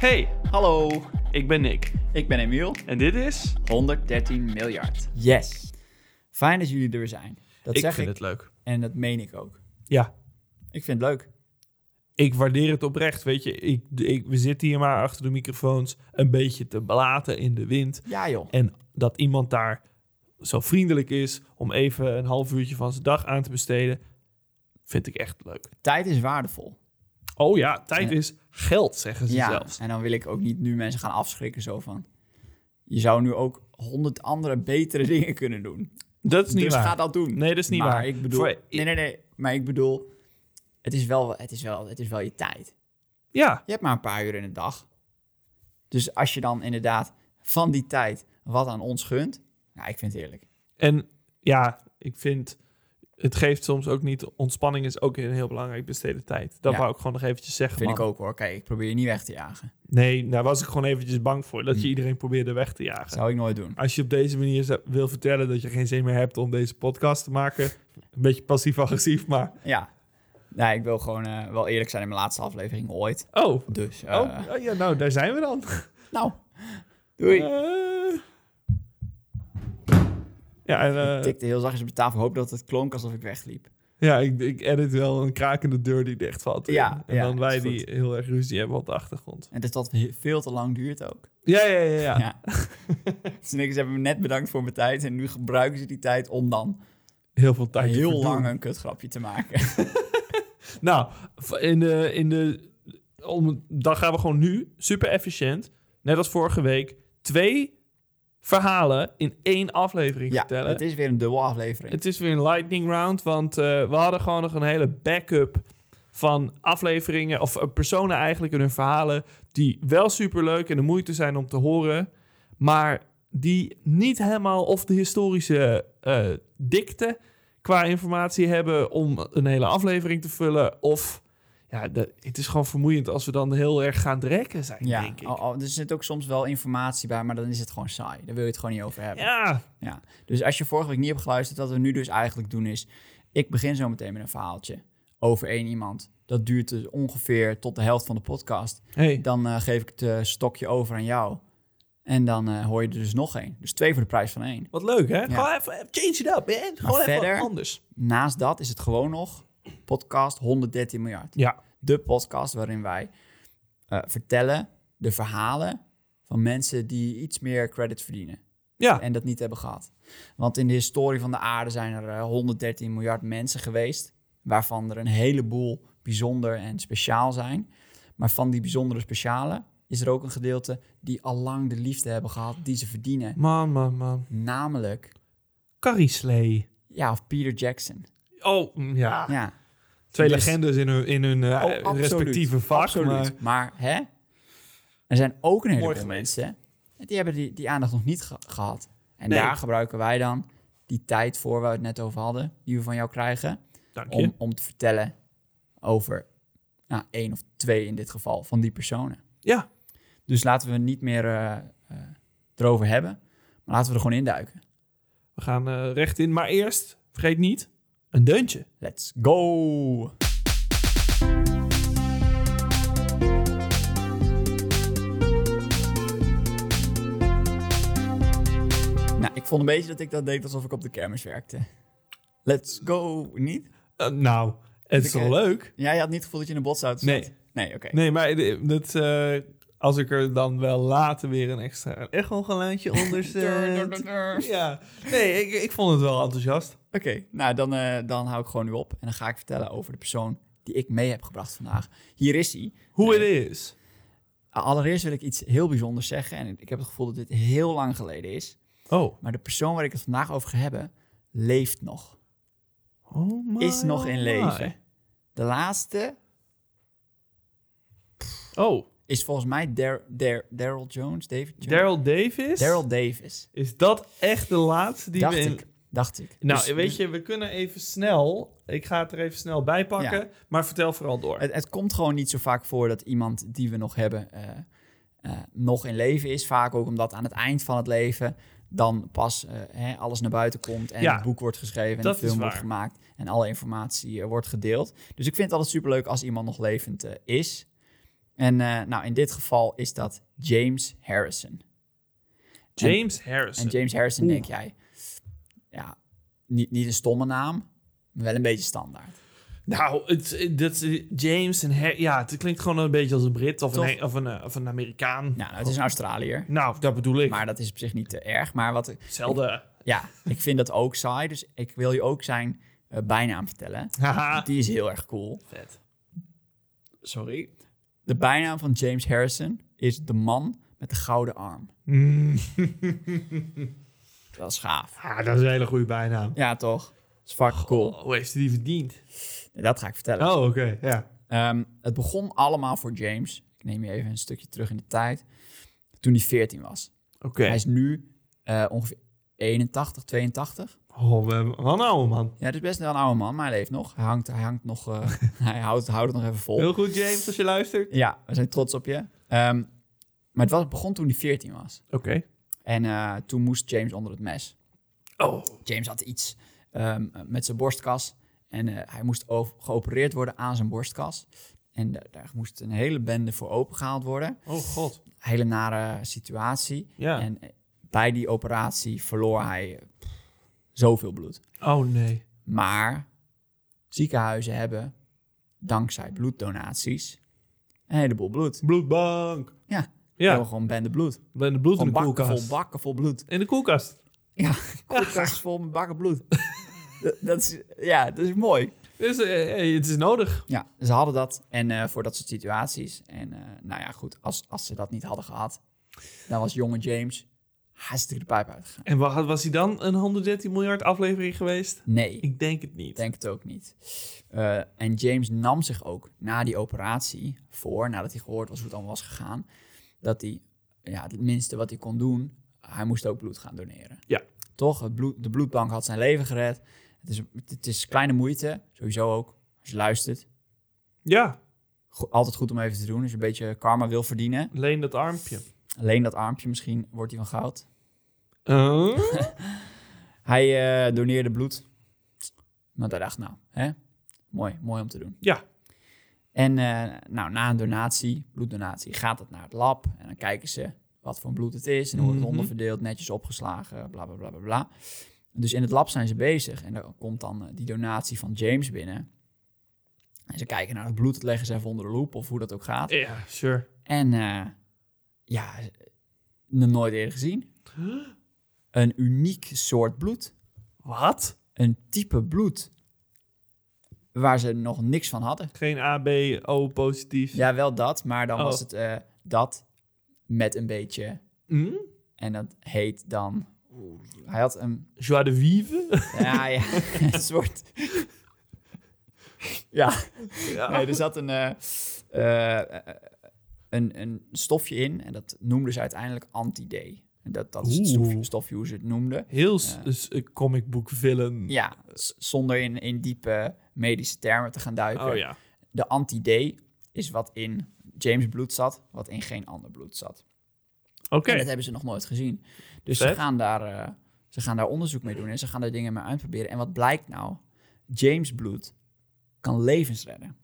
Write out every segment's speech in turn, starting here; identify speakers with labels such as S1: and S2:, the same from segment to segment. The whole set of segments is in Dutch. S1: Hey,
S2: Hallo,
S1: ik ben Nick
S2: ik ben Emiel.
S1: en dit is...
S2: 113 miljard.
S3: Yes. Fijn dat jullie er zijn. Dat
S1: ik
S3: zeg
S1: vind
S3: ik
S1: het leuk.
S3: en dat meen ik ook.
S4: Ja,
S3: Ik vind het leuk.
S4: ik waardeer het oprecht. Weet je, ik, ik, we zitten hier maar achter de microfoons een beetje te blaten in de wind.
S3: Ja joh.
S4: En dat iemand daar zo vriendelijk is om even een half uurtje van zijn dag aan te besteden, vind ik echt leuk.
S3: Tijd is waardevol.
S4: Oh ja, tijd
S3: Ja.
S4: is geld, zeggen ze
S3: ja.
S4: zelfs.
S3: En dan wil ik ook niet nu mensen gaan afschrikken zo van. Je zou nu ook honderd andere betere dingen kunnen doen.
S4: Dat is niet
S3: dus
S4: waar.
S3: ga dat doen.
S4: Nee, dat is niet
S3: maar
S4: waar.
S3: Ik bedoel,
S4: Voor-
S3: nee, nee, nee. Maar ik bedoel, het is, wel, het, is wel, het is wel je tijd.
S4: Ja,
S3: Je hebt maar een paar uur in de dag. Dus als je dan inderdaad van die tijd wat aan ons gunt. Nou, ik vind het heerlijk.
S4: en ja, ik vind... Het geeft soms ook niet... Ontspanning is ook een heel belangrijk besteden tijd. Dat
S3: Ja.
S4: wou ik gewoon nog eventjes zeggen,
S3: Vind
S4: man.
S3: ik ook hoor. Kijk, ik probeer je niet weg te jagen.
S4: Nee, daar was ik gewoon eventjes bang voor. Dat je iedereen probeerde weg te jagen.
S3: Hmm. Zou ik nooit doen.
S4: Als je op deze manier zou- wil vertellen dat je geen zin meer hebt om deze podcast te maken. Een beetje passief-agressief, maar...
S3: Ja. Nee, ik wil gewoon eh, wel eerlijk zijn in mijn laatste aflevering ooit.
S4: Oh,
S3: Dus, eh,
S4: oh, oh ja, nou, daar zijn we dan.
S3: nou. Doei.
S4: Eh. ja, en, eh,
S3: Ik tikte heel zachtjes op de tafel. Ik hoop dat het klonk alsof ik wegliep.
S4: ja ik, ik edit wel een krakende deur die dichtvalt.
S3: Ja,
S4: en
S3: ja,
S4: dan wij
S3: is goed.
S4: die heel erg ruzie hebben op de achtergrond.
S3: En dus dat he- veel te lang duurt ook.
S4: Ja, ja, ja. ja.
S3: Ja. dus niks hebben me net bedankt voor mijn tijd. En nu gebruiken ze die tijd om dan
S4: Heel veel tijd. te
S3: heel
S4: verdoen.
S3: lang een kutgrapje te maken.
S4: Nou, v- in de, in de, om, dan gaan we gewoon nu super efficiënt, net als vorige week, twee verhalen in één aflevering
S3: ja,
S4: vertellen.
S3: het is weer een dubbel aflevering.
S4: Het is weer een lightning round, want eh, we hadden gewoon nog een hele backup van afleveringen of eh, personen eigenlijk in hun verhalen die wel super leuk en de moeite zijn om te horen, maar die niet helemaal of de historische eh, dikte qua informatie hebben om een hele aflevering te vullen of ja, de- het is gewoon vermoeiend als we dan heel erg gaan drekken zijn,
S3: ja,
S4: denk ik.
S3: al- al- er zit ook soms wel informatie bij, maar dan is het gewoon saai. Daar wil je het gewoon niet over hebben.
S4: Ja,
S3: Ja, dus als je vorige week niet hebt geluisterd, wat we nu dus eigenlijk doen is... Ik begin zo meteen met een verhaaltje over één iemand. Dat duurt dus ongeveer tot de helft van de podcast.
S4: hey,
S3: Dan eh, geef ik het eh, stokje over aan jou. En dan eh, hoor je er dus nog één. Dus twee voor de prijs van één.
S4: wat leuk hè? Gewoon even change it up, man. Gewoon even
S3: verder-
S4: anders.
S3: Naast dat is het gewoon nog podcast 113 miljard.
S4: Ja,
S3: De podcast waarin wij eh, vertellen de verhalen van mensen die iets meer credit verdienen.
S4: ja.
S3: en dat niet hebben gehad. Want in de historie van de aarde zijn er eh, 113 miljard mensen geweest, waarvan er een heleboel bijzonder en speciaal zijn. Maar van die bijzondere speciale is er ook een gedeelte die al lang de liefde hebben gehad die ze verdienen.
S4: Man, man, man.
S3: Namelijk,
S4: Carrie Slee.
S3: ja, of Peter Jackson.
S4: Oh, mm, ja.
S3: Ja,
S4: Twee
S3: Dus-
S4: legendes in hun, in hun eh,
S3: Oh, absoluut,
S4: respectieve vak.
S3: absoluut.
S4: Maar
S3: Maar hè, er zijn ook een heleboel
S4: geweest.
S3: mensen die hebben die, die aandacht nog niet ge- gehad. En
S4: Nee.
S3: daar gebruiken wij dan die tijd voor waar we het net over hadden, die we van jou krijgen.
S4: dank je.
S3: om, om te vertellen over nou, één of twee in dit geval van die personen.
S4: Ja,
S3: Dus laten we niet meer eh, eh, erover hebben, maar laten we er gewoon induiken.
S4: we gaan eh, recht in. Maar eerst, vergeet niet, een deuntje.
S3: Let's go! Nou, ik vond een beetje dat ik dat deed alsof ik op de kermis werkte. Let's go, niet?
S4: Eh, nou, het is
S3: Ik,
S4: wel
S3: eh,
S4: leuk.
S3: Jij had niet het gevoel dat je in een botsauto zat?
S4: Nee.
S3: Nee, oké.
S4: Nee, maar eh, dat, eh, als ik er dan wel later weer een extra echo-geluidje onder zet. ja, nee, ik, ik vond het wel enthousiast.
S3: Oké, nou dan, eh, dan hou ik gewoon nu op en dan ga ik vertellen over de persoon die ik mee heb gebracht vandaag. Hier is hij.
S4: Hoe het is.
S3: Allereerst wil ik iets heel bijzonders zeggen en ik heb het gevoel dat dit heel lang geleden is.
S4: Oh.
S3: Maar de persoon waar ik het vandaag over ga hebben, leeft nog.
S4: oh my,
S3: Is nog in
S4: oh
S3: leven.
S4: my.
S3: De laatste
S4: Oh,
S3: is volgens mij Dar- Dar- Daryl Jones, David Jones.
S4: Daryl Davis?
S3: Daryl Davis.
S4: Is dat echt de laatste die
S3: dacht
S4: we in-
S3: ik, dacht ik.
S4: Nou,
S3: Dus-
S4: weet
S3: dus
S4: je, we kunnen even snel. Ik ga het er even snel bij pakken. Maar vertel vooral door.
S3: Het, het komt gewoon niet zo vaak voor dat iemand die we nog hebben eh, eh, nog in leven is. Vaak ook omdat aan het eind van het leven dan pas eh, hè, alles naar buiten komt en
S4: Ja,
S3: het boek wordt geschreven en
S4: dat
S3: de film
S4: is
S3: wordt
S4: waar.
S3: gemaakt en alle informatie eh, wordt gedeeld. Dus ik vind het altijd superleuk als iemand nog levend eh, is. En eh, nou, in dit geval is dat James Harrison.
S4: James
S3: En
S4: Harrison.
S3: James Harrison denk jij, ja, niet, niet een stomme naam, maar wel een beetje standaard.
S4: nou, het, het- dat is- James en Har- Ja, het klinkt gewoon een beetje als een Brit of,
S3: Toch?
S4: een, of, een, eh, of een Amerikaan.
S3: Nou, het is een Australiër,
S4: Nou, dat bedoel ik.
S3: maar dat is op zich niet te erg. Maar wat,
S4: Hetzelfde.
S3: ja, ik vind dat ook saai, dus ik wil je ook zijn eh, bijnaam vertellen.
S4: Haha.
S3: Die is heel erg cool.
S4: Vet.
S3: Sorry. De bijnaam van James Harrison is de man met de gouden arm.
S4: Mm.
S3: dat is gaaf.
S4: Ah, dat is een hele goede bijnaam.
S3: Ja, toch? Dat is fucking cool.
S4: Oh, Hoe heeft hij die verdiend?
S3: Dat ga ik vertellen.
S4: Oh, oké. Ja.
S3: Ehm, het begon allemaal voor James. Ik neem je even een stukje terug in de tijd. Toen hij 14 was.
S4: Oké.
S3: Hij is nu eh, ongeveer 81, 82.
S4: Oh, we hebben- wat nou, man.
S3: Ja, dat is best wel een oude man, maar hij leeft nog. Hij hangt, hij hangt nog, eh, hij houdt, houdt het nog even vol.
S4: Heel goed, James, als je luistert.
S3: Ja, we zijn trots op je. Ehm, maar het was, begon toen hij 14 was.
S4: Oké.
S3: En eh, toen moest James onder het mes.
S4: Oh.
S3: James had iets ehm, met zijn borstkas. En eh, hij moest o- geopereerd worden aan zijn borstkas. En da- daar moest een hele bende voor opengehaald worden.
S4: Oh, god.
S3: Hele nare situatie.
S4: Ja.
S3: En eh, bij die operatie verloor hij eh, pff, zoveel bloed.
S4: Oh, nee.
S3: Maar ziekenhuizen hebben, dankzij bloeddonaties, een heleboel bloed.
S4: Bloedbank.
S3: Ja, we
S4: Ja,
S3: hebben gewoon bende bloed.
S4: ben de bloed in
S3: Gewoon
S4: de
S3: bakken
S4: koelkast.
S3: vol, bakken vol bloed.
S4: in de koelkast.
S3: Ja, koelkast vol met bakken bloed. dat, dat is, ja, dat is mooi.
S4: Dus, eh, eh, het is nodig.
S3: Ja, ze hadden dat en eh, voor dat soort situaties. En eh, nou ja, goed, als, als ze dat niet hadden gehad, dan was jonge James hartstikke de pijp uitgegaan.
S4: En wa- was hij dan een 113 miljard aflevering geweest?
S3: Nee, ik
S4: Ik denk het niet.
S3: denk het ook niet. Eh, en James nam zich ook na die operatie voor, nadat hij gehoord was hoe het allemaal was gegaan, dat hij, ja, het minste wat hij kon doen, hij moest ook bloed gaan doneren.
S4: Ja.
S3: Toch? Het bloed, de bloedbank had zijn leven gered. Het is, het is kleine moeite, sowieso ook. Als je luistert,
S4: Ja,
S3: go- altijd goed om even te doen. Als je een beetje karma wil verdienen.
S4: leen dat armpje.
S3: Alleen dat armpje, misschien wordt hij van goud.
S4: Eh?
S3: Hij eh, doneerde bloed. Maar daar dacht ik, nou, hè? Mooi, mooi om te doen.
S4: ja.
S3: En eh, nou, na een donatie, bloeddonatie, gaat het naar het lab. En dan kijken ze wat voor bloed het is en hoe
S4: Mhm.
S3: het onderverdeeld, netjes opgeslagen, bla bla bla bla bla. Dus in het lab zijn ze bezig en dan komt dan eh, die donatie van James binnen. En ze kijken naar het bloed, dat leggen ze even onder de loep of hoe dat ook gaat.
S4: Ja, sure.
S3: En eh, ja, nog nooit eerder gezien. Een uniek soort bloed.
S4: Wat?
S3: Een type bloed waar ze nog niks van hadden.
S4: Geen AB, O positief.
S3: Ja, wel dat, maar dan
S4: Oh.
S3: was het eh, dat met een beetje.
S4: Hm?
S3: En dat heet dan. Hij had een.
S4: Joie de vive?
S3: Ja, ja, een soort. ja,
S4: ja.
S3: nee, er zat een, eh, eh, eh, een, een stofje in en dat noemden ze uiteindelijk anti-D. En Dat, dat is het stofje,
S4: Oeh.
S3: stofje hoe ze het noemden.
S4: Heel s- s- eh, comic book villain.
S3: Ja, z- zonder in, in diepe medische termen te gaan duiken.
S4: Oh ja.
S3: De anti-D is wat in James bloed zat, wat in geen ander bloed zat.
S4: Oké.
S3: En dat hebben ze nog nooit gezien. Dus
S4: Vet.
S3: ze gaan, daar, eh, ze gaan daar onderzoek mee doen en ze gaan daar dingen mee uitproberen. En wat blijkt nou? James bloed kan levens redden.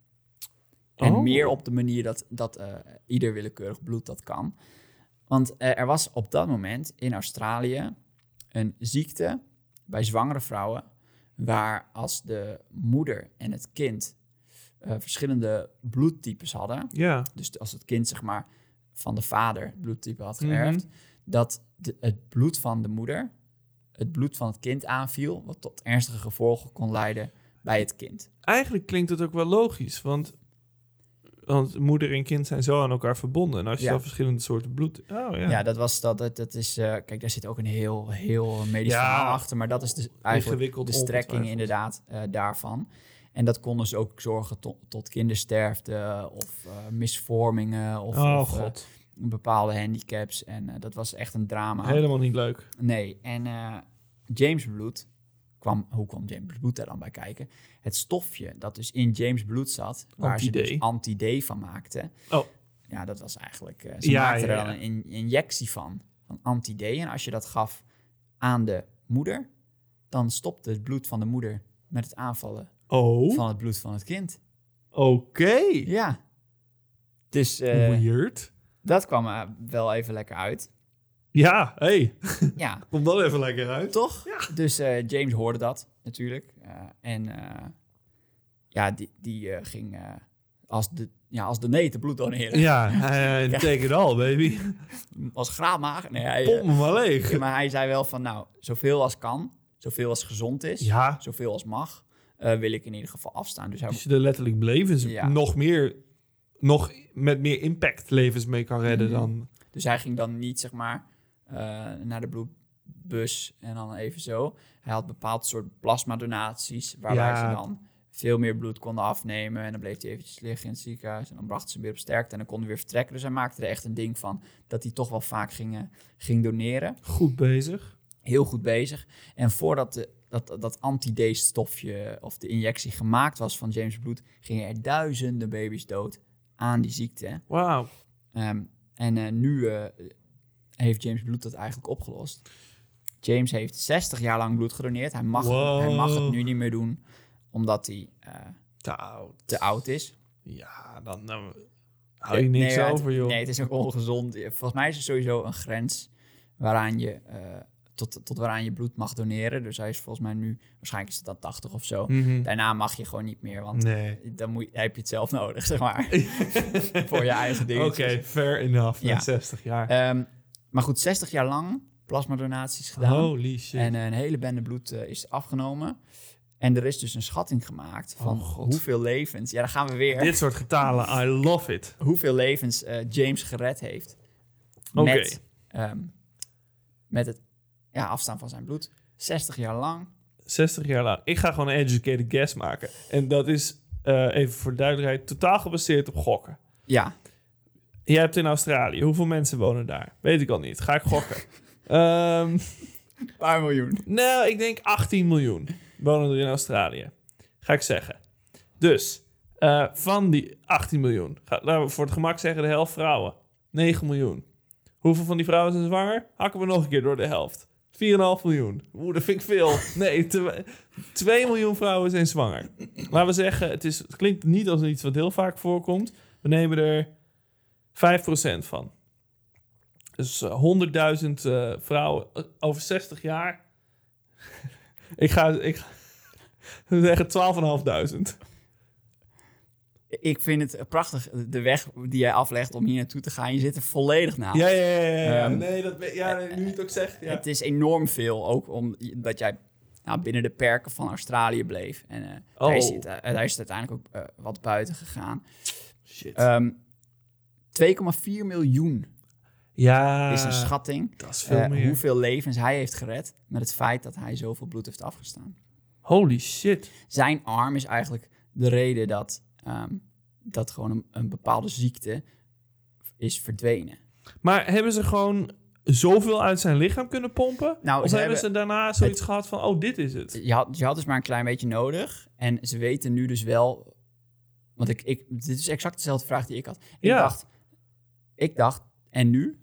S3: En
S4: Oh.
S3: meer op de manier dat, dat eh, ieder willekeurig bloed dat kan. Want eh, er was op dat moment in Australië een ziekte bij zwangere vrouwen... waar als de moeder en het kind eh, verschillende bloedtypes hadden...
S4: Ja.
S3: Dus als het kind, zeg maar, van de vader het bloedtype had
S4: Mhm.
S3: geërfd, dat de- het bloed van de moeder het bloed van het kind aanviel, wat tot ernstige gevolgen kon leiden bij het kind.
S4: Eigenlijk klinkt het ook wel logisch, want, want moeder en kind zijn zo aan elkaar verbonden. En als je
S3: Ja.
S4: dan verschillende soorten bloed... Oh ja.
S3: Ja, dat was dat. Dat, dat is, eh, kijk, daar zit ook een heel, heel medisch
S4: Ja.
S3: verhaal achter, maar dat is dus eigenlijk
S4: Ingewikkeld,
S3: de strekking
S4: ongetwijfeld.
S3: inderdaad eh, daarvan. En dat kon dus ook zorgen to- tot kindersterfte of eh, misvormingen of,
S4: oh
S3: of, eh,
S4: god,
S3: bepaalde handicaps. En eh, dat was echt een drama.
S4: helemaal niet leuk.
S3: Nee, en eh, James bloed kwam, hoe kwam James bloed daar dan bij kijken? Het stofje dat dus in James bloed zat, waar ze
S4: Anti-D.
S3: dus anti-D van maakten.
S4: Oh.
S3: Ja, dat was eigenlijk, eh, ze
S4: Ja,
S3: maakten
S4: ja,
S3: er dan
S4: ja.
S3: een in- injectie van, van anti-D. En als je dat gaf aan de moeder, dan stopte het bloed van de moeder met het aanvallen
S4: Oh,
S3: van het bloed van het kind.
S4: oké.
S3: Ja, Dus eh,
S4: Weird.
S3: dat kwam eh, wel even lekker uit.
S4: Ja, hey.
S3: Ja,
S4: Komt wel even lekker uit.
S3: toch? Dus eh, James hoorde dat natuurlijk. Eh, en eh, ja, die, die eh, ging eh, als, de, ja, als de nee te bloed doneren.
S4: Ja, eh, take it all, baby.
S3: Als graadmager. Nee, hij, eh,
S4: Pomp me maar leeg.
S3: maar hij zei wel van, nou, zoveel als kan, zoveel als gezond is,
S4: Ja,
S3: zoveel als mag, eh, wil ik in ieder geval afstaan. Dus hij
S4: als je er letterlijk levens
S3: Ja.
S4: nog meer, nog met meer impact levens mee kan redden
S3: Mhm.
S4: dan...
S3: Dus hij ging dan niet, zeg maar, eh, naar de bloedbus en dan even zo. Hij had bepaald soort plasmadonaties, waarbij
S4: Ja.
S3: ze dan veel meer bloed konden afnemen. En dan bleef hij eventjes liggen in het ziekenhuis. En dan brachten ze hem weer op sterkte en dan konden hij weer vertrekken. Dus hij maakte er echt een ding van dat hij toch wel vaak ging, eh, ging doneren.
S4: Goed bezig.
S3: Heel goed bezig. En voordat de, dat, dat anti-D-stofje of de injectie gemaakt was van James Bloed, gingen er duizenden baby's dood aan die ziekte.
S4: Wauw.
S3: Ehm, en eh, nu eh, heeft James Bloed dat eigenlijk opgelost. James heeft 60 jaar lang bloed gedoneerd. Hij mag,
S4: Wow.
S3: hij mag het nu niet meer doen, omdat hij eh,
S4: Te oud.
S3: te oud is.
S4: Ja, dan nou, hou je niks
S3: Nee, het-
S4: over, joh.
S3: Nee, het is ook ongezond. Volgens mij is er sowieso een grens waaraan je, eh, tot, tot waaraan je bloed mag doneren. Dus hij is volgens mij nu, waarschijnlijk is het dan 80 of zo.
S4: Mhm.
S3: Daarna mag je gewoon niet meer, want
S4: Nee.
S3: dan moet, je- heb je het zelf nodig, zeg maar. Voor je eigen
S4: Oké,
S3: dingetjes.
S4: fair enough.
S3: Ja.
S4: Na 60 jaar.
S3: Ehm, maar goed, 60 jaar lang plasmadonaties gedaan.
S4: Holy shit.
S3: En eh, een hele bende bloed eh, is afgenomen. En er is dus een schatting gemaakt van
S4: Oh, God.
S3: hoeveel levens... Ja, daar gaan we weer.
S4: Dit soort getalen, I love it.
S3: Hoeveel levens eh, James gered heeft.
S4: Oké.
S3: Met, ehm, met het ja, afstaan van zijn bloed. 60 jaar lang.
S4: 60 jaar lang. Ik ga gewoon een educated guess maken. En dat is, eh, even voor duidelijkheid, totaal gebaseerd op gokken.
S3: Ja,
S4: Je hebt in Australië, hoeveel mensen wonen daar? Weet ik al niet. Ga ik gokken. Ehm,
S3: een paar miljoen.
S4: nou, ik denk 18 miljoen wonen er in Australië. Ga ik zeggen. Dus, eh, van die 18 miljoen, ga, laten we voor het gemak zeggen de helft vrouwen. 9 miljoen. Hoeveel van die vrouwen zijn zwanger? Hakken we nog een keer door de helft. 4,5 miljoen. Oeh, dat vind ik veel. Nee, te- 2 miljoen vrouwen zijn zwanger. Laten we zeggen, het, is, het klinkt niet als iets wat heel vaak voorkomt. We nemen er 5% van. Dus eh, 100.000 eh, vrouwen eh, over 60 jaar. ik ga, ik ga we zeggen 12.500.
S3: Ik vind het prachtig, de weg die jij aflegt om hier naartoe te gaan. Je zit er volledig naast.
S4: Ja, ja, ja. ja, ja.
S3: Ah. Ehm,
S4: nee, dat, weet- ja, nee, nu je het ook zegt. Ja.
S3: Het is enorm veel, ook omdat jij nou, binnen de perken van Australië bleef. En eh
S4: Oh.
S3: daar, is het, eh, daar is het uiteindelijk ook eh, wat buiten gegaan.
S4: Shit.
S3: Ehm, 2,4 miljoen
S4: ja,
S3: is een schatting.
S4: Ah, dat is veel
S3: eh,
S4: meer.
S3: hoeveel levens hij heeft gered met het feit dat hij zoveel bloed heeft afgestaan.
S4: Holy shit.
S3: Zijn arm is eigenlijk de reden dat, ehm, dat gewoon een, een bepaalde ziekte is verdwenen.
S4: Maar hebben ze gewoon zoveel uit zijn lichaam kunnen pompen?
S3: Nou,
S4: of
S3: ze
S4: hebben ze
S3: hebben-
S4: daarna zoiets gehad van, oh, dit is het?
S3: je had, je had dus maar een klein beetje nodig. En ze weten nu dus wel. Want ik, ik, dit is exact dezelfde vraag die ik had. Ik
S4: Ja.
S3: dacht, ik dacht, en nu?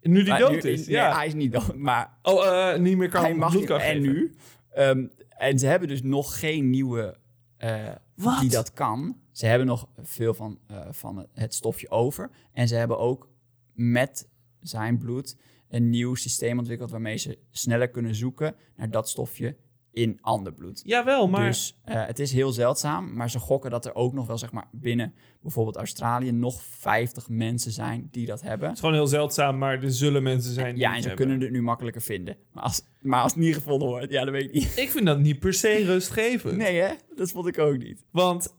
S4: Nu die
S3: Maar
S4: dood
S3: Ah, nu-
S4: is,
S3: nee,
S4: ja.
S3: hij is niet dood, maar
S4: Oh, eh, niet meer kan
S3: hij mag
S4: bloed
S3: niet.
S4: kan
S3: En
S4: geven.
S3: nu? Ehm, en ze hebben dus nog geen nieuwe eh,
S4: Wat?
S3: die dat kan. Ze hebben nog veel van, eh, van het stofje over. En ze hebben ook met zijn bloed een nieuw systeem ontwikkeld... waarmee ze sneller kunnen zoeken naar dat stofje in ander bloed.
S4: Jawel, maar...
S3: Dus eh, het is heel zeldzaam, maar ze gokken dat er ook nog wel zeg maar, binnen bijvoorbeeld Australië nog 50 mensen zijn die dat hebben.
S4: Het is gewoon heel zeldzaam, maar er zullen mensen zijn die
S3: Ja,
S4: het
S3: en ze
S4: hebben.
S3: kunnen het nu makkelijker vinden. Maar als, maar als het niet gevonden wordt, ja, dat weet ik niet.
S4: Ik vind dat niet per se rustgevend.
S3: Nee, hè? Dat vond ik ook niet.
S4: Want...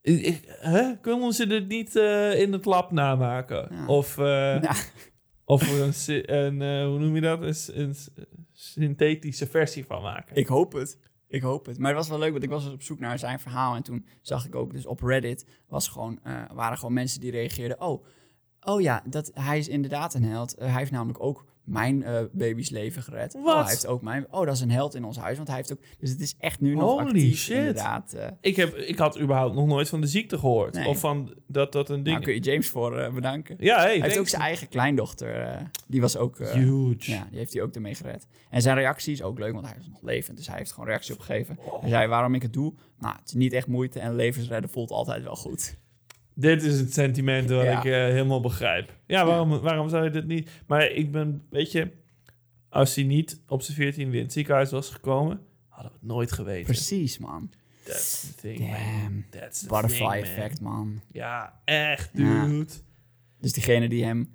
S4: Ik- ik- hè? Kunnen ze dit niet eh, in het lab namaken?
S3: Ja.
S4: Of, eh,
S3: Ja.
S4: of er een, sy- een eh, hoe noem je dat? Een, s- een s- synthetische versie van maken.
S3: Ik hoop het. Ik hoop het. Maar het was wel leuk, want ik was dus op zoek naar zijn verhaal. En toen zag ik ook, dus op Reddit was gewoon, eh, waren gewoon mensen die reageerden. Oh, oh ja, dat, hij is inderdaad een held. Eh, hij heeft namelijk ook mijn eh baby's leven gered. Oh,
S4: Wat?
S3: hij heeft ook mijn... Oh, dat is een held in ons huis, want hij heeft ook... Dus het is echt nu nog
S4: Holy
S3: actief,
S4: shit.
S3: inderdaad. eh.
S4: Ik, heb, ik had überhaupt nog nooit van de ziekte gehoord.
S3: Nee.
S4: Of van dat dat een ding...
S3: nou, kun je James voor eh, bedanken.
S4: Ja, hey,
S3: hij heeft
S4: thanks.
S3: ook zijn eigen kleindochter. eh, die was ook... eh,
S4: Huge.
S3: Ja, die heeft hij ook ermee gered. En zijn reactie is ook leuk, want hij is nog levend. Dus hij heeft gewoon reactie opgegeven. Hij zei waarom ik het doe. Nou, het is niet echt moeite en levensredden voelt altijd wel goed.
S4: Dit is het sentiment dat
S3: Ja.
S4: ik eh, helemaal begrijp. Ja, waarom, waarom zou je dit niet... Maar ik ben, weet je... Als hij niet op zijn 14 in het ziekenhuis was gekomen... hadden we het nooit geweten.
S3: Precies, man.
S4: That's the thing, man.
S3: Damn.
S4: That's the
S3: Butterfly
S4: thing, man.
S3: effect, man.
S4: Ja, echt,
S3: Ja.
S4: dude.
S3: Dus diegene die hem...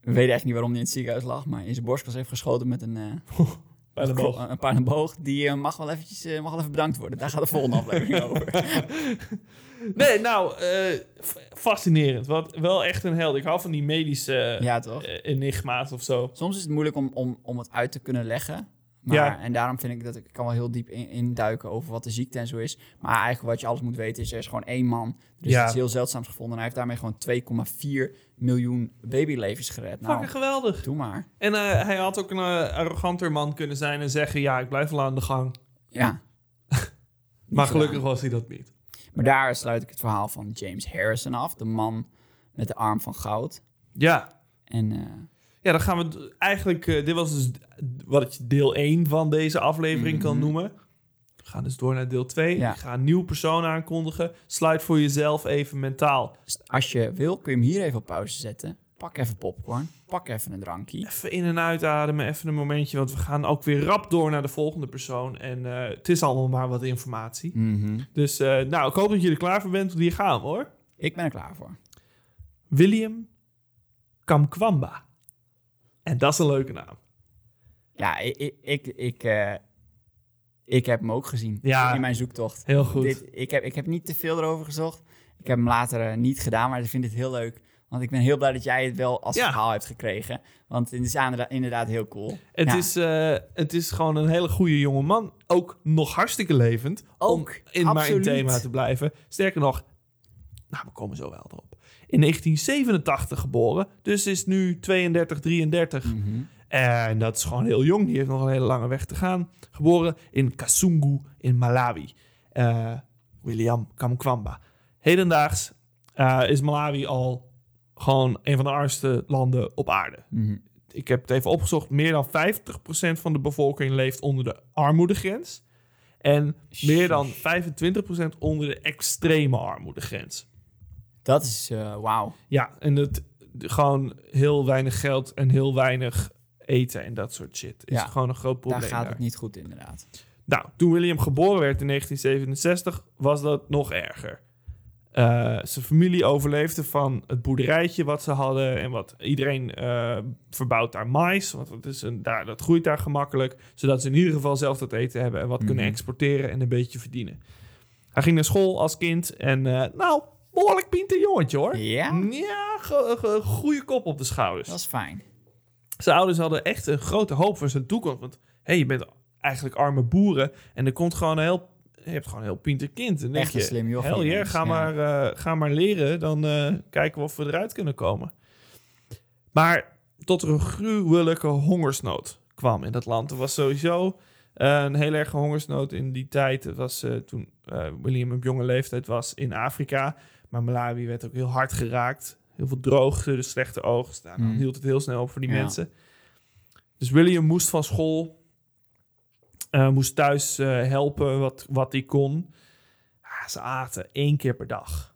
S3: We weten echt niet waarom hij in het ziekenhuis lag, maar in zijn borstkas heeft geschoten met een... eh,
S4: Bij de boog.
S3: Een paardenboog. Die eh, mag, wel eventjes, eh, mag wel even bedankt worden. Daar gaat de volgende aflevering over.
S4: Nee, nou, eh, f- fascinerend. Wat, wel echt een held. Ik hou van die medische
S3: Ja, toch?
S4: eh, enigma's of zo.
S3: Soms is het moeilijk om, om, om het uit te kunnen leggen. Maar,
S4: Ja.
S3: En daarom vind ik dat ik ik kan wel heel diep in- induiken over wat de ziekte en zo is. Maar eigenlijk wat je alles moet weten is, er is gewoon één man. Er is
S4: Ja.
S3: iets heel zeldzaams gevonden. En hij heeft daarmee gewoon 2,4 miljoen babylevens gered. Nou,
S4: Fucking geweldig.
S3: doe maar.
S4: En eh, hij had ook een eh, arroganter man kunnen zijn en zeggen... ja, ik blijf wel aan de gang.
S3: Ja.
S4: Maar gelukkig was hij dat niet.
S3: Maar daar sluit ik het verhaal van James Harrison af. De man met de arm van goud.
S4: Ja,
S3: En eh,
S4: ja dan gaan we d- eigenlijk... eh, dit was dus d- wat je deel 1 van deze aflevering kan
S3: Mhm.
S4: noemen. We gaan dus door naar deel 2.
S3: Ja.
S4: Ik ga een nieuw persoon aankondigen. Sluit voor jezelf even mentaal.
S3: als je wil, kun je hem hier even op pauze zetten. Pak even popcorn. Pak even een drankje.
S4: Even in- en uitademen, even een momentje... want we gaan ook weer rap door naar de volgende persoon. En eh, het is allemaal maar wat informatie.
S3: Mhm.
S4: Dus eh, nou, ik hoop dat je er klaar voor bent, want hier gaan we hoor.
S3: Ik ben er klaar voor.
S4: William Kamkwamba. En dat is een leuke naam.
S3: Ja, ik, ik, ik, ik, eh, ik heb hem ook gezien
S4: Ja.
S3: in mijn zoektocht.
S4: Heel goed.
S3: Dit, ik, heb, ik heb niet te veel erover gezocht. Ik heb hem later eh, niet gedaan, maar ik vind het heel leuk. Want ik ben heel blij dat jij het wel als
S4: Ja.
S3: verhaal hebt gekregen. Want het is inderdaad, inderdaad heel cool.
S4: het,
S3: Ja.
S4: is, eh, het is gewoon een hele goede jonge man. Ook nog hartstikke levend. om
S3: Ook,
S4: in mijn
S3: absoluut.
S4: thema te blijven. Sterker nog, nou, we komen zo wel erop. In 1987 geboren, dus is nu 32, 33.
S3: Mhm.
S4: En dat is gewoon heel jong. Die heeft nog een hele lange weg te gaan. Geboren in Kasungu in Malawi. Eh, William Kamkwamba. Hedendaags eh, is Malawi al gewoon een van de armste landen op aarde.
S3: Mhm.
S4: Ik heb het even opgezocht. Meer dan 50% van de bevolking leeft onder de armoedegrens. En meer dan 25% onder de extreme armoedegrens.
S3: Dat is, eh, wauw.
S4: Ja, en dat gewoon heel weinig geld en heel weinig eten en dat soort shit. Is
S3: Ja.
S4: gewoon een groot probleem.
S3: Daar gaat het
S4: daar.
S3: niet goed inderdaad.
S4: Nou, toen William geboren werd in 1967, was dat nog erger. Eh, zijn familie overleefde van het boerderijtje wat ze hadden en wat iedereen eh, verbouwt daar mais, want dat, is een, daar, dat groeit daar gemakkelijk, zodat ze in ieder geval zelf dat eten hebben en wat kunnen
S3: Mhm.
S4: exporteren en een beetje verdienen. Hij ging naar school als kind en eh, nou, behoorlijk pinter jongetje hoor.
S3: Ja,
S4: Ja, ge- ge- goede kop op de schouders.
S3: dat is fijn.
S4: Zijn ouders hadden echt een grote hoop voor zijn toekomst. Want hey, je bent eigenlijk arme boeren. En er komt gewoon een heel. Je hebt gewoon een heel pinter kind. En denk
S3: Echt een
S4: je,
S3: slim jochie
S4: Hell yeah,
S3: ineens,
S4: ga,
S3: ja.
S4: maar, eh, ga maar leren. Dan eh, kijken we of we eruit kunnen komen. Maar tot er een gruwelijke hongersnood kwam in dat land. Er was sowieso eh, een heel erge hongersnood in die tijd. Het was eh, toen eh, William op jonge leeftijd was in Afrika. Maar Malawi werd ook heel hard geraakt. Heel veel droogte, dus slechte oogst. Nou, dan
S3: Mm.
S4: hield het heel snel op voor die
S3: Ja.
S4: mensen. Dus William moest van school. eh, moest thuis eh, helpen wat, wat hij kon. Ah, ze aten één keer per dag.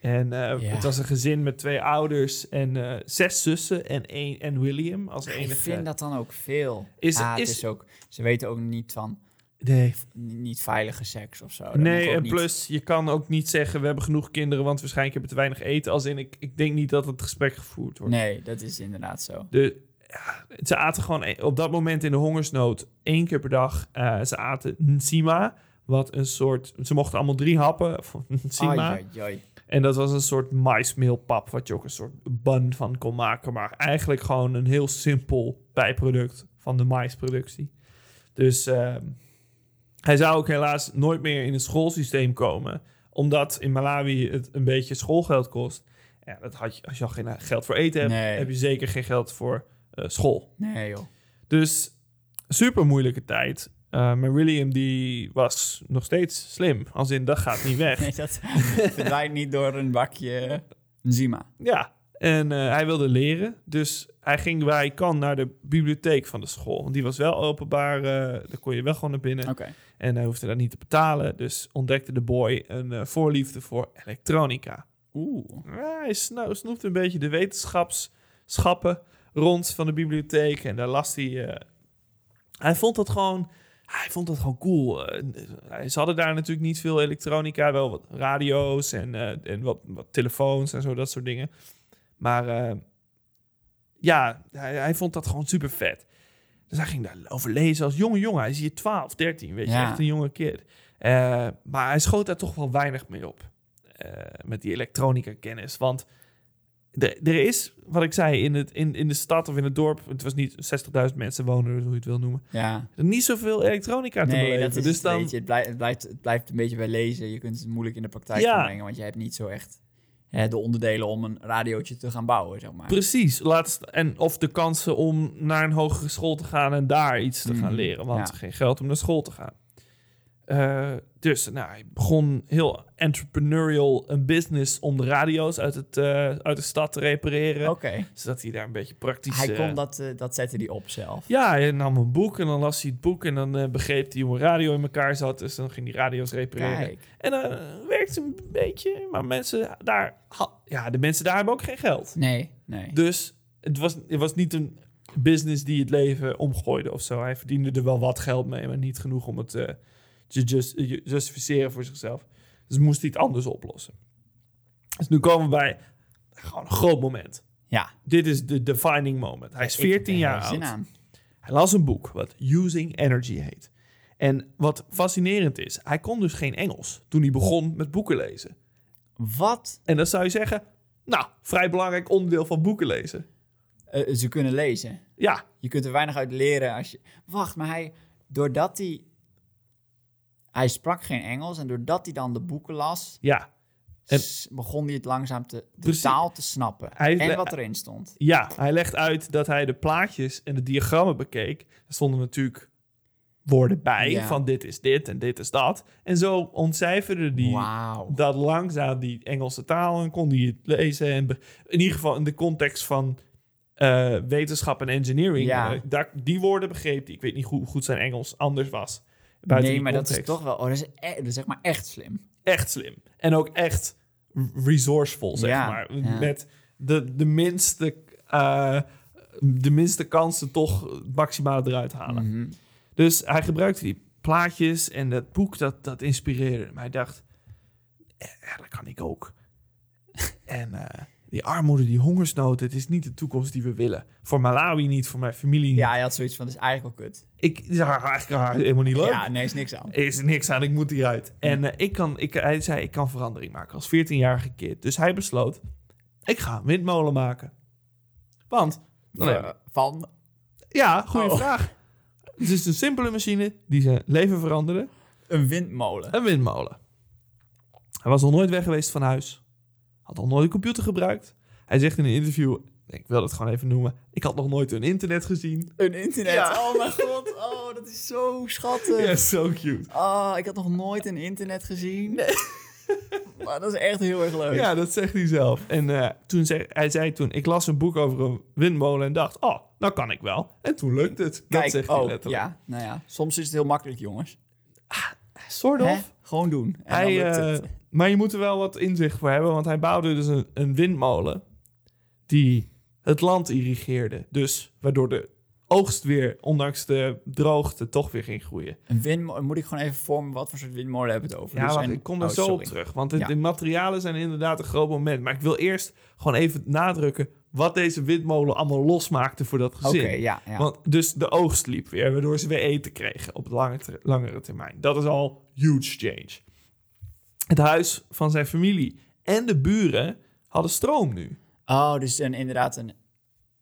S4: En eh,
S3: Ja.
S4: het was een gezin met twee ouders en eh, zes zussen en, één, en William als
S3: Ik
S4: enige.
S3: vind dat dan ook veel.
S4: Is-
S3: Ah, het
S4: is-
S3: is ook, ze weten ook niet van
S4: Nee,
S3: n- niet veilige seks of zo. Oh, Dat moet
S4: nee
S3: ook
S4: en
S3: niet.
S4: plus je kan ook niet zeggen we hebben genoeg kinderen, want waarschijnlijk hebben we te weinig eten. Als in, ik, ik denk niet dat het gesprek gevoerd wordt.
S3: Nee, dat is inderdaad zo.
S4: De, ja, ze aten gewoon e- op dat moment in de hongersnood één keer per dag. eh, ze aten nsima, wat een soort... Ze mochten allemaal drie happen van nsima.
S3: Ai, ai, ai.
S4: En dat was een soort maismeelpap, wat je ook een soort bun van kon maken. Maar eigenlijk gewoon een heel simpel bijproduct van de maisproductie. Dus ehm, hij zou ook helaas nooit meer in het schoolsysteem komen. Omdat in Malawi het een beetje schoolgeld kost. Ja, dat had je, als je al geen geld voor eten hebt,
S3: Nee.
S4: heb je zeker geen geld voor eh, school.
S3: Nee joh.
S4: Dus super moeilijke tijd. Eh, maar William die was nog steeds slim. Als in, dat gaat niet weg.
S3: Nee, dat verdwijnt niet door een bakje Zima.
S4: Ja, en eh, hij wilde leren. Dus hij ging waar hij kan naar de bibliotheek van de school. Want die was wel openbaar. eh daar kon je wel gewoon naar binnen.
S3: Oké.
S4: En hij hoefde dat niet te betalen. Dus ontdekte de boy een eh, voorliefde voor elektronica.
S3: Oeh.
S4: Ja, hij sno- snoepte een beetje de wetenschapschappen rond van de bibliotheek. En daar las hij... eh, hij vond dat gewoon... Hij vond dat gewoon cool. Eh, eh, ze hadden daar natuurlijk niet veel elektronica. Wel wat radio's en, eh, en wat, wat telefoons en zo, dat soort dingen. Maar eh, ja, hij, hij vond dat gewoon super vet. Dus hij ging daarover lezen als jonge jongen. Hij is hier 12, 13, weet je,
S3: Ja.
S4: echt een jonge kid. Eh, maar hij schoot daar toch wel weinig mee op. eh, met die elektronica kennis. Want er, er is, wat ik zei, in, het, in, in de stad of in het dorp... Het was niet 60.000 mensen wonen, hoe je het wil noemen.
S3: Ja.
S4: Niet zoveel elektronica te
S3: Nee,
S4: beleven.
S3: dat is
S4: dus
S3: het,
S4: dan,
S3: weet je, het, blijft, het, blijft, het blijft een beetje bij lezen. Je kunt het moeilijk in de praktijk
S4: Ja.
S3: gaan brengen, want je hebt niet zo echt hè, de onderdelen om een radiootje te gaan bouwen, zeg maar.
S4: Precies. Laatst, en of de kansen om naar een hogere school te gaan en daar iets te
S3: Mhm,
S4: gaan leren. Want
S3: ja.
S4: geen geld om naar school te gaan. Eh, dus nou, hij begon heel entrepreneurial een business om de radio's uit, het, eh, uit de stad te repareren.
S3: Oké.
S4: Zodat hij daar een beetje praktisch...
S3: Hij
S4: eh,
S3: kon dat, eh, dat zette hij op zelf.
S4: Ja, hij nam een boek en dan las hij het boek en dan eh, begreep hij hoe een radio in elkaar zat. Dus dan ging hij radio's repareren.
S3: Kijk.
S4: En dan werkte een beetje, maar mensen daar... ha- Ja, de mensen daar hebben ook geen geld.
S3: Nee, nee.
S4: Dus het was, het was niet een business die het leven omgooide of zo. Hij verdiende er wel wat geld mee, maar niet genoeg om het eh, te just- ju- justificeren voor zichzelf. Dus moest hij het anders oplossen. Dus nu komen we bij gewoon een groot moment.
S3: ja.
S4: Dit is de defining moment. Hij is
S3: Ik heb
S4: 14
S3: er
S4: jaar
S3: geen zin
S4: oud.
S3: aan.
S4: Hij las een boek wat Using Energy heet. En wat fascinerend is, hij kon dus geen Engels toen hij begon met boeken lezen.
S3: Wat?
S4: En dan zou je zeggen, nou, vrij belangrijk onderdeel van boeken lezen.
S3: Eh, ze kunnen lezen.
S4: Ja,
S3: Je kunt er weinig uit leren als je... Wacht, maar hij... Doordat hij... Hij sprak geen Engels en doordat hij dan de boeken las...
S4: ja. En-
S3: s- begon hij het langzaam te, de
S4: Precies.
S3: taal te snappen.
S4: Hij-
S3: en wat erin stond.
S4: Ja, hij legt uit dat hij de plaatjes en de diagrammen bekeek. Er stonden natuurlijk woorden bij
S3: Ja.
S4: van dit is dit en dit is dat. En zo ontcijferde hij
S3: Wauw.
S4: dat langzaam, die Engelse taal, en kon hij het lezen. En be- in ieder geval in de context van eh, wetenschap en engineering.
S3: Ja.
S4: eh, daar, die woorden begreep hij. Ik weet niet hoe goed zijn Engels anders was. buiten
S3: Nee,
S4: die
S3: maar dat is
S4: context.
S3: toch wel... Oh, dat is, e- dat is zeg maar echt slim.
S4: echt slim. En ook echt resourceful, zeg
S3: Ja,
S4: maar.
S3: ja.
S4: Met de, de, minste, eh, de minste kansen toch het maximale eruit halen.
S3: Mhm.
S4: Dus hij gebruikte die plaatjes en dat boek, dat, dat inspireerde hem. Hij dacht, "Eh, ja, dat kan ik ook. en eh, die armoede, die hongersnood, het is niet de toekomst die we willen. Voor Malawi niet, voor mijn familie niet.
S3: Ja, hij had zoiets van, dat is eigenlijk wel kut.
S4: Ik, is eigenlijk helemaal niet leuk
S3: Ja, nee, is niks aan.
S4: is er niks aan, ik moet hieruit. En eh, ik kan, ik, hij zei, ik kan verandering maken als 14-jarige kid. Dus hij besloot, ik ga een windmolen maken. Want, dan heb-
S3: Eh, van...
S4: ja, goede
S3: Oh.
S4: vraag. Het is een simpele machine die zijn leven veranderde.
S3: Een windmolen.
S4: Een windmolen. Hij was nog nooit weg geweest van huis. Had nog nooit een computer gebruikt. Hij zegt in een interview, ik wil dat gewoon even noemen. Ik had nog nooit een internet gezien.
S3: Een internet.
S4: Ja.
S3: Oh mijn god, oh, dat is zo schattig.
S4: Ja, zo cute.
S3: Ah, ik had nog nooit een internet gezien. maar dat is echt heel erg leuk.
S4: Ja, dat zegt hij zelf. En eh, toen zei, hij zei toen, ik las een boek over een windmolen en dacht, oh, nou kan ik wel. En toen lukt het. dat
S3: Kijk,
S4: zegt
S3: oh,
S4: hij letterlijk.
S3: ja, nou ja. Soms is het heel makkelijk, jongens.
S4: Soort
S3: Hè?
S4: of.
S3: Gewoon doen. En
S4: Hij,
S3: dan lukt het.
S4: eh, maar je moet er wel wat inzicht voor hebben, want hij bouwde dus een, een windmolen die het land irrigeerde. Dus waardoor de oogst weer, ondanks de droogte, toch weer ging groeien.
S3: Een windmolen, moet ik gewoon even vormen wat voor soort windmolen hebben we het over?
S4: Ja,
S3: Dus
S4: wacht,
S3: een-
S4: ik kom daar
S3: oh,
S4: zo op
S3: sorry.
S4: terug. Want het-
S3: Ja.
S4: de materialen zijn inderdaad een groot moment. Maar ik wil eerst gewoon even nadrukken wat deze windmolen allemaal losmaakte voor dat
S3: Oké,
S4: gezin.
S3: ja, ja.
S4: Want dus de oogst liep weer, waardoor ze weer eten kregen op lange ter- langere termijn. Dat is al huge change. Het huis van zijn familie en de buren hadden stroom nu.
S3: Oh, dus een, inderdaad een,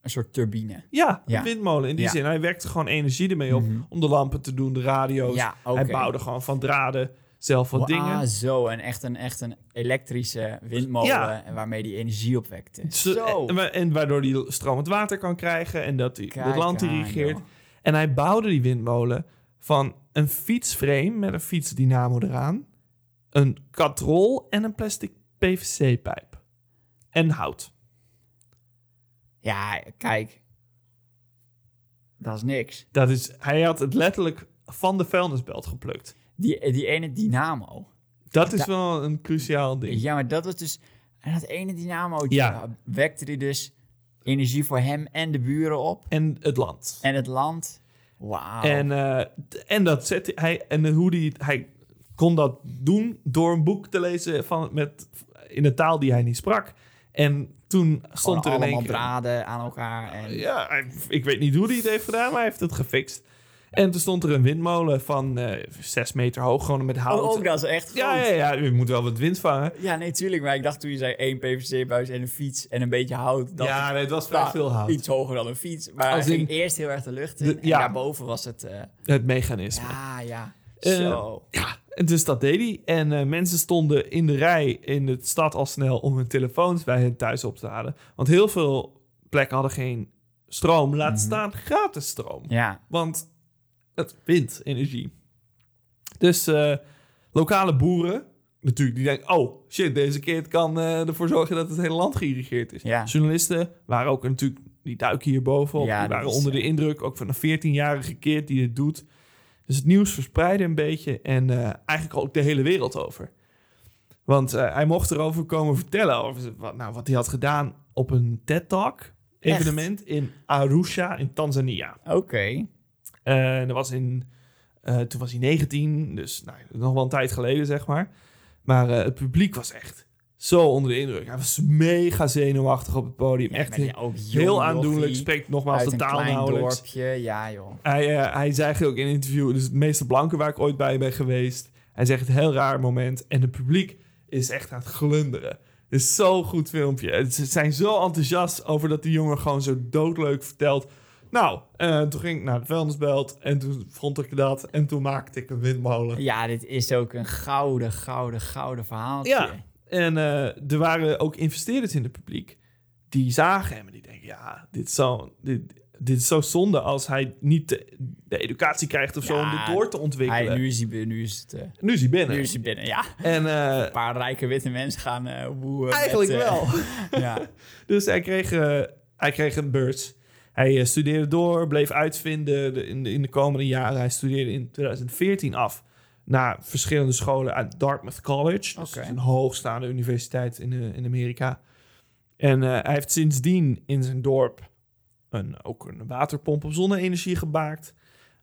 S3: een soort turbine.
S4: Ja,
S3: Ja.
S4: een windmolen in die
S3: Ja. Mhm.
S4: zin. Hij werkte gewoon energie ermee op om de lampen te doen, de radio's.
S3: Ja,
S4: Hij
S3: oké.
S4: bouwde gewoon van draden zelf wat
S3: Wow,
S4: dingen.
S3: Ah, zo. En echt een, echt een elektrische windmolen
S4: Ja.
S3: en waarmee die energie opwekte.
S4: Zo- eh,
S3: Zo.
S4: En, wa- en waardoor hij stromend water kan krijgen en dat hij
S3: Kijk
S4: het land
S3: aan,
S4: irrigeert.
S3: joh.
S4: En hij bouwde die windmolen van een fietsframe met een fietsdynamo eraan, een katrol en een plastic PVC-pijp. En hout.
S3: Ja, kijk. Dat is niks.
S4: Dat is, hij had het letterlijk van de vuilnisbelt geplukt.
S3: Die, die ene dynamo.
S4: Dat is wel een cruciaal ding.
S3: Ja, maar dat was dus... En dat ene dynamo
S4: Ja.
S3: wekte hij dus energie voor hem en de buren op.
S4: En het land.
S3: En het land. Wauw.
S4: En, eh, d- en, dat zette hij, en hoe die, hij kon dat doen door een boek te lezen van, met, in een taal die hij niet sprak. En toen
S3: Gewoon
S4: stond er in één
S3: allemaal
S4: keer...
S3: draden aan elkaar. En,
S4: Ja, hij- ik weet niet hoe hij het heeft gedaan, maar hij heeft het gefixt. En toen stond er een windmolen van eh zes meter hoog, gewoon met hout.
S3: Oh, ook dat is echt groot.
S4: ja, ja, ja, je moet wel wat wind vangen.
S3: Ja, nee, tuurlijk. Maar ik dacht toen je zei één PVC-buis en een fiets en een beetje hout. Dat
S4: ja, nee, het was vrij
S3: nou,
S4: veel hout.
S3: Iets hoger dan een fiets. Maar
S4: Als
S3: hij ging
S4: in-
S3: eerst heel erg de lucht in.
S4: De-
S3: en
S4: ja.
S3: daarboven was het... eh,
S4: Het mechanisme.
S3: ja, ja.
S4: Eh,
S3: Zo.
S4: Ja, en dus dat deed hij. En eh, mensen stonden in de rij in de stad al snel om hun telefoons bij hen thuis op te halen. Want heel veel plekken hadden geen stroom, laat staan gratis stroom.
S3: Ja.
S4: Want het wint energie. Dus eh, lokale boeren, natuurlijk, die denken... oh, shit, deze kid kan eh, ervoor zorgen dat het hele land geïrrigeerd is.
S3: Ja.
S4: Journalisten waren ook natuurlijk... die duiken hierbovenop,
S3: Ja,
S4: die
S3: dat
S4: waren
S3: is,
S4: onder de
S3: eh,
S4: indruk... ook van een 14-jarige kid die dit doet. Dus het nieuws verspreidde een beetje... en eh, eigenlijk ook de hele wereld over. Want eh, hij mocht erover komen vertellen... over z- wat, nou, wat hij had gedaan op een TED-talk-evenement... in Arusha in Tanzania.
S3: Oké.
S4: Eh, en dat was in, eh, toen was hij 19, dus nou, nog wel een tijd geleden, zeg maar. Maar eh, het publiek was echt zo onder de indruk. Hij was mega zenuwachtig op het podium.
S3: Ja,
S4: echt
S3: maar ja,
S4: heel-
S3: ook jong
S4: heel aandoenlijk.
S3: jochie
S4: Spreekt nogmaals
S3: Uit
S4: de
S3: een
S4: taal
S3: klein
S4: nauwelijks.
S3: dorpje. Ja, joh.
S4: Hij, eh, hij zei ook in een interview, dus het meeste blanken waar ik ooit bij ben geweest. Hij zegt, heel raar moment. En het publiek is echt aan het glunderen. Het is zo'n goed filmpje. Het- Ze zijn zo enthousiast over dat die jongen gewoon zo doodleuk vertelt. Nou, eh, toen ging ik naar de vuilnisbelt en toen vond ik dat. En toen maakte ik een windmolen.
S3: Ja, dit is ook een gouden, gouden, gouden verhaaltje.
S4: Ja. En eh, er waren ook investeerders in het publiek die zagen hem en die denken: ja, dit is zo, dit, dit is zo zonde als hij niet de, de educatie krijgt of zo om
S3: Ja,
S4: dit door te ontwikkelen.
S3: Hij, nu, is hij, bi- nu, is het, eh,
S4: nu is hij binnen.
S3: nu is hij binnen, ja.
S4: En eh,
S3: Een paar rijke witte mensen gaan eh woeien. met,
S4: eigenlijk
S3: eh,
S4: wel.
S3: ja.
S4: Dus hij kreeg, eh, hij kreeg een beurs. Hij eh, studeerde door, bleef uitvinden de- in, de, in de komende jaren. Hij studeerde in 2014 af naar verschillende scholen uit Dartmouth College. Dus
S3: Oké.
S4: dat is een hoogstaande universiteit in, eh, in Amerika. En eh, hij heeft sindsdien in zijn dorp een, ook een waterpomp op zonne-energie gemaakt.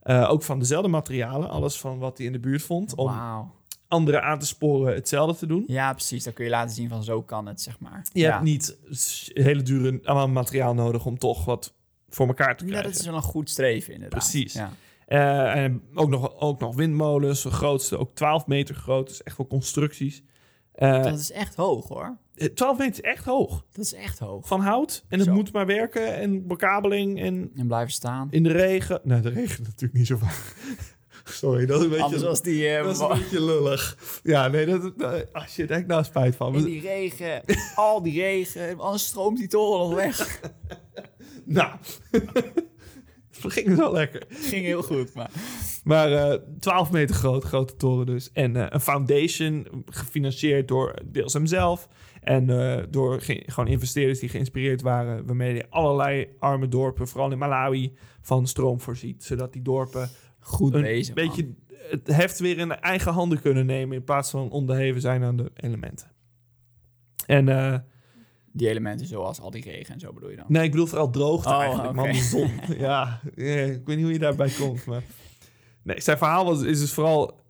S4: Eh, ook van dezelfde materialen, alles van wat hij in de buurt vond. Om
S3: Wauw.
S4: anderen aan te sporen hetzelfde te doen.
S3: Ja, precies. Dan kun je laten zien van zo kan het, zeg maar.
S4: Je hebt niet s- hele dure allemaal materiaal nodig om toch wat voor elkaar te
S3: Ja,
S4: krijgen.
S3: dat is wel een goed streven, inderdaad.
S4: Precies.
S3: Ja.
S4: Eh, en ook nog, ook nog windmolens, de grootste, ook 12 meter groot. Dus echt wel constructies. Eh,
S3: Dat is echt hoog, hoor.
S4: eh, 12 meter is echt hoog.
S3: Dat is echt hoog.
S4: Van hout. En het
S3: Zo.
S4: moet maar werken. En bekabeling. En
S3: En blijven staan.
S4: in de regen. Nou, de regen natuurlijk niet zo vaak. Sorry, dat is een beetje,
S3: Anders was die... eh,
S4: dat is
S3: wa-
S4: een beetje lullig. Ja, nee, dat... dat ah, shit, daar heb ik nou spijt van.
S3: in die regen, al die regen, anders stroomt die toren nog weg.
S4: Nou, het ging wel lekker.
S3: Ging heel goed, maar...
S4: Maar eh 12 meter groot, grote toren dus. En eh, een foundation gefinancierd door deels hemzelf. En eh, door ge- gewoon investeerders die geïnspireerd waren. Waarmee hij allerlei arme dorpen, vooral in Malawi, van stroom voorziet. Zodat die dorpen
S3: Goed
S4: een
S3: bezig, man.
S4: beetje het heft weer in eigen handen kunnen nemen. In plaats van onderheven zijn aan de elementen. En eh,
S3: Die elementen zoals al die regen en zo bedoel je dan.
S4: Nee, ik bedoel vooral droogte
S3: Oh,
S4: eigenlijk, man.
S3: oké.
S4: De zon. ja, eh, ik weet niet hoe je daarbij komt, maar... Nee, zijn verhaal was, is dus vooral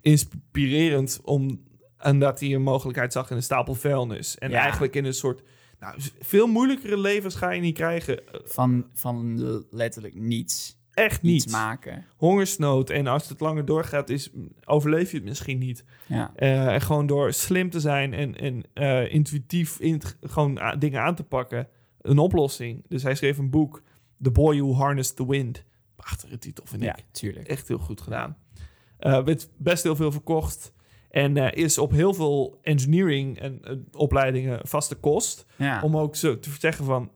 S4: inspirerend om... en dat hij een mogelijkheid zag in een stapel vuilnis. En
S3: Ja.
S4: eigenlijk in een soort... Nou, veel moeilijkere levens ga je niet krijgen.
S3: Van, van letterlijk niets.
S4: Echt
S3: Niets
S4: niet.
S3: maken.
S4: Hongersnood. En als het langer doorgaat, is, overleef je het misschien niet.
S3: Ja.
S4: Eh, en gewoon door slim te zijn en, en eh, intuïtief in, gewoon a- dingen aan te pakken. Een oplossing. Dus hij schreef een boek, The Boy Who Harnessed the Wind. Prachtige titel, vind
S3: Ja,
S4: ik.
S3: tuurlijk.
S4: Echt heel goed gedaan. Eh werd best heel veel verkocht. En eh, is op heel veel engineering en eh, opleidingen vaste kost.
S3: Ja.
S4: Om ook zo te zeggen van...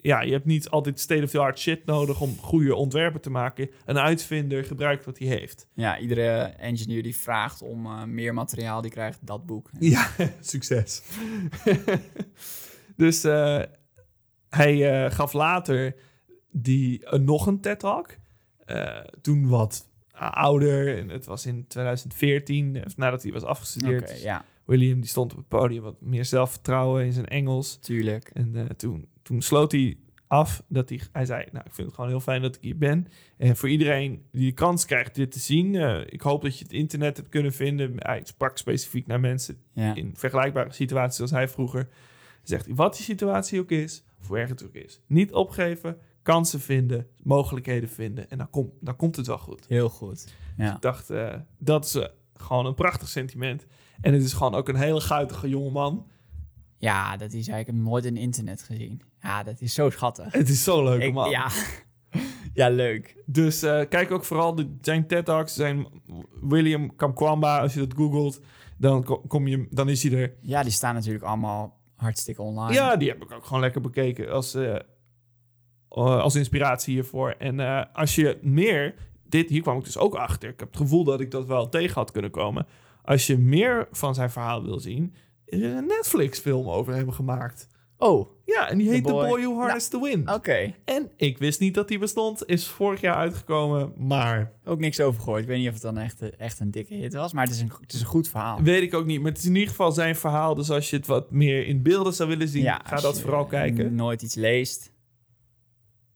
S4: Ja, je hebt niet altijd state-of-the-art shit nodig om goede ontwerpen te maken. Een uitvinder gebruikt wat hij heeft.
S3: ja, iedere engineer die vraagt om eh, meer materiaal, die krijgt dat boek.
S4: Ja, succes. dus eh, hij eh, gaf later die, eh, nog een TED-talk. Eh, toen wat a- ouder. En het was in 2014, of nadat hij was afgestudeerd.
S3: Oké, ja,
S4: William die stond op het podium, wat meer zelfvertrouwen in zijn Engels.
S3: tuurlijk.
S4: En eh, toen, toen sloot hij af dat hij, hij zei, nou, ik vind het gewoon heel fijn dat ik hier ben. En voor iedereen die de kans krijgt dit te zien, eh, ik hoop dat je het internet hebt kunnen vinden. Hij sprak specifiek naar mensen
S3: Ja.
S4: in vergelijkbare situaties als hij vroeger. Zegt hij, wat die situatie ook is, of hoe erg het ook is. Niet opgeven, kansen vinden, mogelijkheden vinden. En dan, komt dan komt het wel goed.
S3: Heel goed. Ja.
S4: Ik dacht, eh, dat is eh, gewoon een prachtig sentiment. En het is gewoon ook een hele guitige jongeman.
S3: ja, dat is eigenlijk ik heb hem nooit in internet gezien. Ja, dat is zo schattig.
S4: Het is zo'n leuke
S3: Ik-
S4: man.
S3: ja. ja, leuk.
S4: Dus eh, kijk ook vooral de, zijn TED Talks, zijn William Kamkwamba. Als je dat googelt, dan, ko- kom je, dan is hij er.
S3: Ja, die staan natuurlijk allemaal hartstikke online.
S4: Ja, die heb ik ook gewoon lekker bekeken als, eh, eh, als inspiratie hiervoor. En eh, als je meer, dit, hier kwam ik dus ook achter. Ik heb het gevoel dat ik dat wel tegen had kunnen komen. Als je meer van zijn verhaal wil zien, is er een Netflix-film over hem gemaakt.
S3: Oh, oké.
S4: Ja, en die heet The Boy,
S3: Boy. Nou, oh.
S4: Who Harnessed the Wind. En ik wist niet dat die bestond. Is vorig jaar uitgekomen, maar
S3: Ook niks over gehoord. Ik weet niet of het dan echt, eh, echt een dikke hit was, maar het is een, go- het is een goed verhaal.
S4: weet ik ook niet. Maar het is in ieder geval zijn verhaal. Dus als je het wat meer in beelden zou willen zien, ga
S3: als
S4: dat
S3: je
S4: vooral kijken.
S3: nooit iets leest.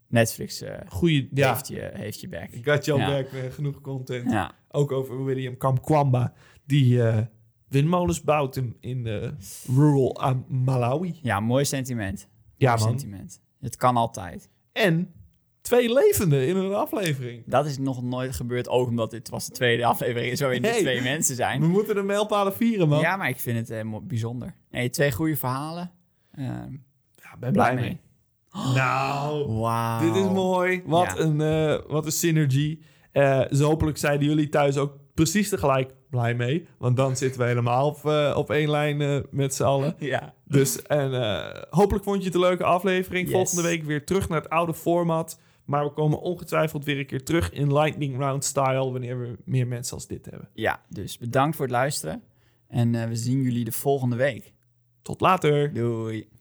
S3: Netflix eh,
S4: Goeie, ja.
S3: heeft, je, heeft je back.
S4: Got your
S3: Ja.
S4: back, eh, genoeg content.
S3: Ja,
S4: Ook over William Kamkwamba, die eh, windmolens bouwt in, in eh, rural Am- Malawi.
S3: ja mooi sentiment.
S4: Ja,
S3: Mooi
S4: man.
S3: sentiment. Het kan altijd.
S4: En twee levenden in een aflevering.
S3: Dat is nog nooit gebeurd, ook omdat dit was de tweede aflevering is waarin er
S4: Hey.
S3: twee mensen
S4: We
S3: zijn.
S4: moeten de mijlpalen vieren, man.
S3: Ja, maar ik vind het eh, mo- bijzonder. Nee, twee goede verhalen. Ehm
S4: Ja, ben blij
S3: Blij
S4: mee. Nou,
S3: Wauw.
S4: dit is mooi. Wat,
S3: Ja.
S4: een, eh, wat een synergie. Eh dus hopelijk zeiden jullie thuis ook precies tegelijk blij mee. Want dan zitten we helemaal op, eh, op één lijn eh, met z'n allen.
S3: Ja.
S4: Dus en, eh, hopelijk vond je het een leuke aflevering.
S3: Yes.
S4: Volgende week weer terug naar het oude format. Maar we komen ongetwijfeld weer een keer terug in lightning round style. Wanneer we meer mensen als dit hebben.
S3: ja, dus bedankt voor het luisteren. En eh, we zien jullie de volgende week.
S4: Tot later.
S3: Doei.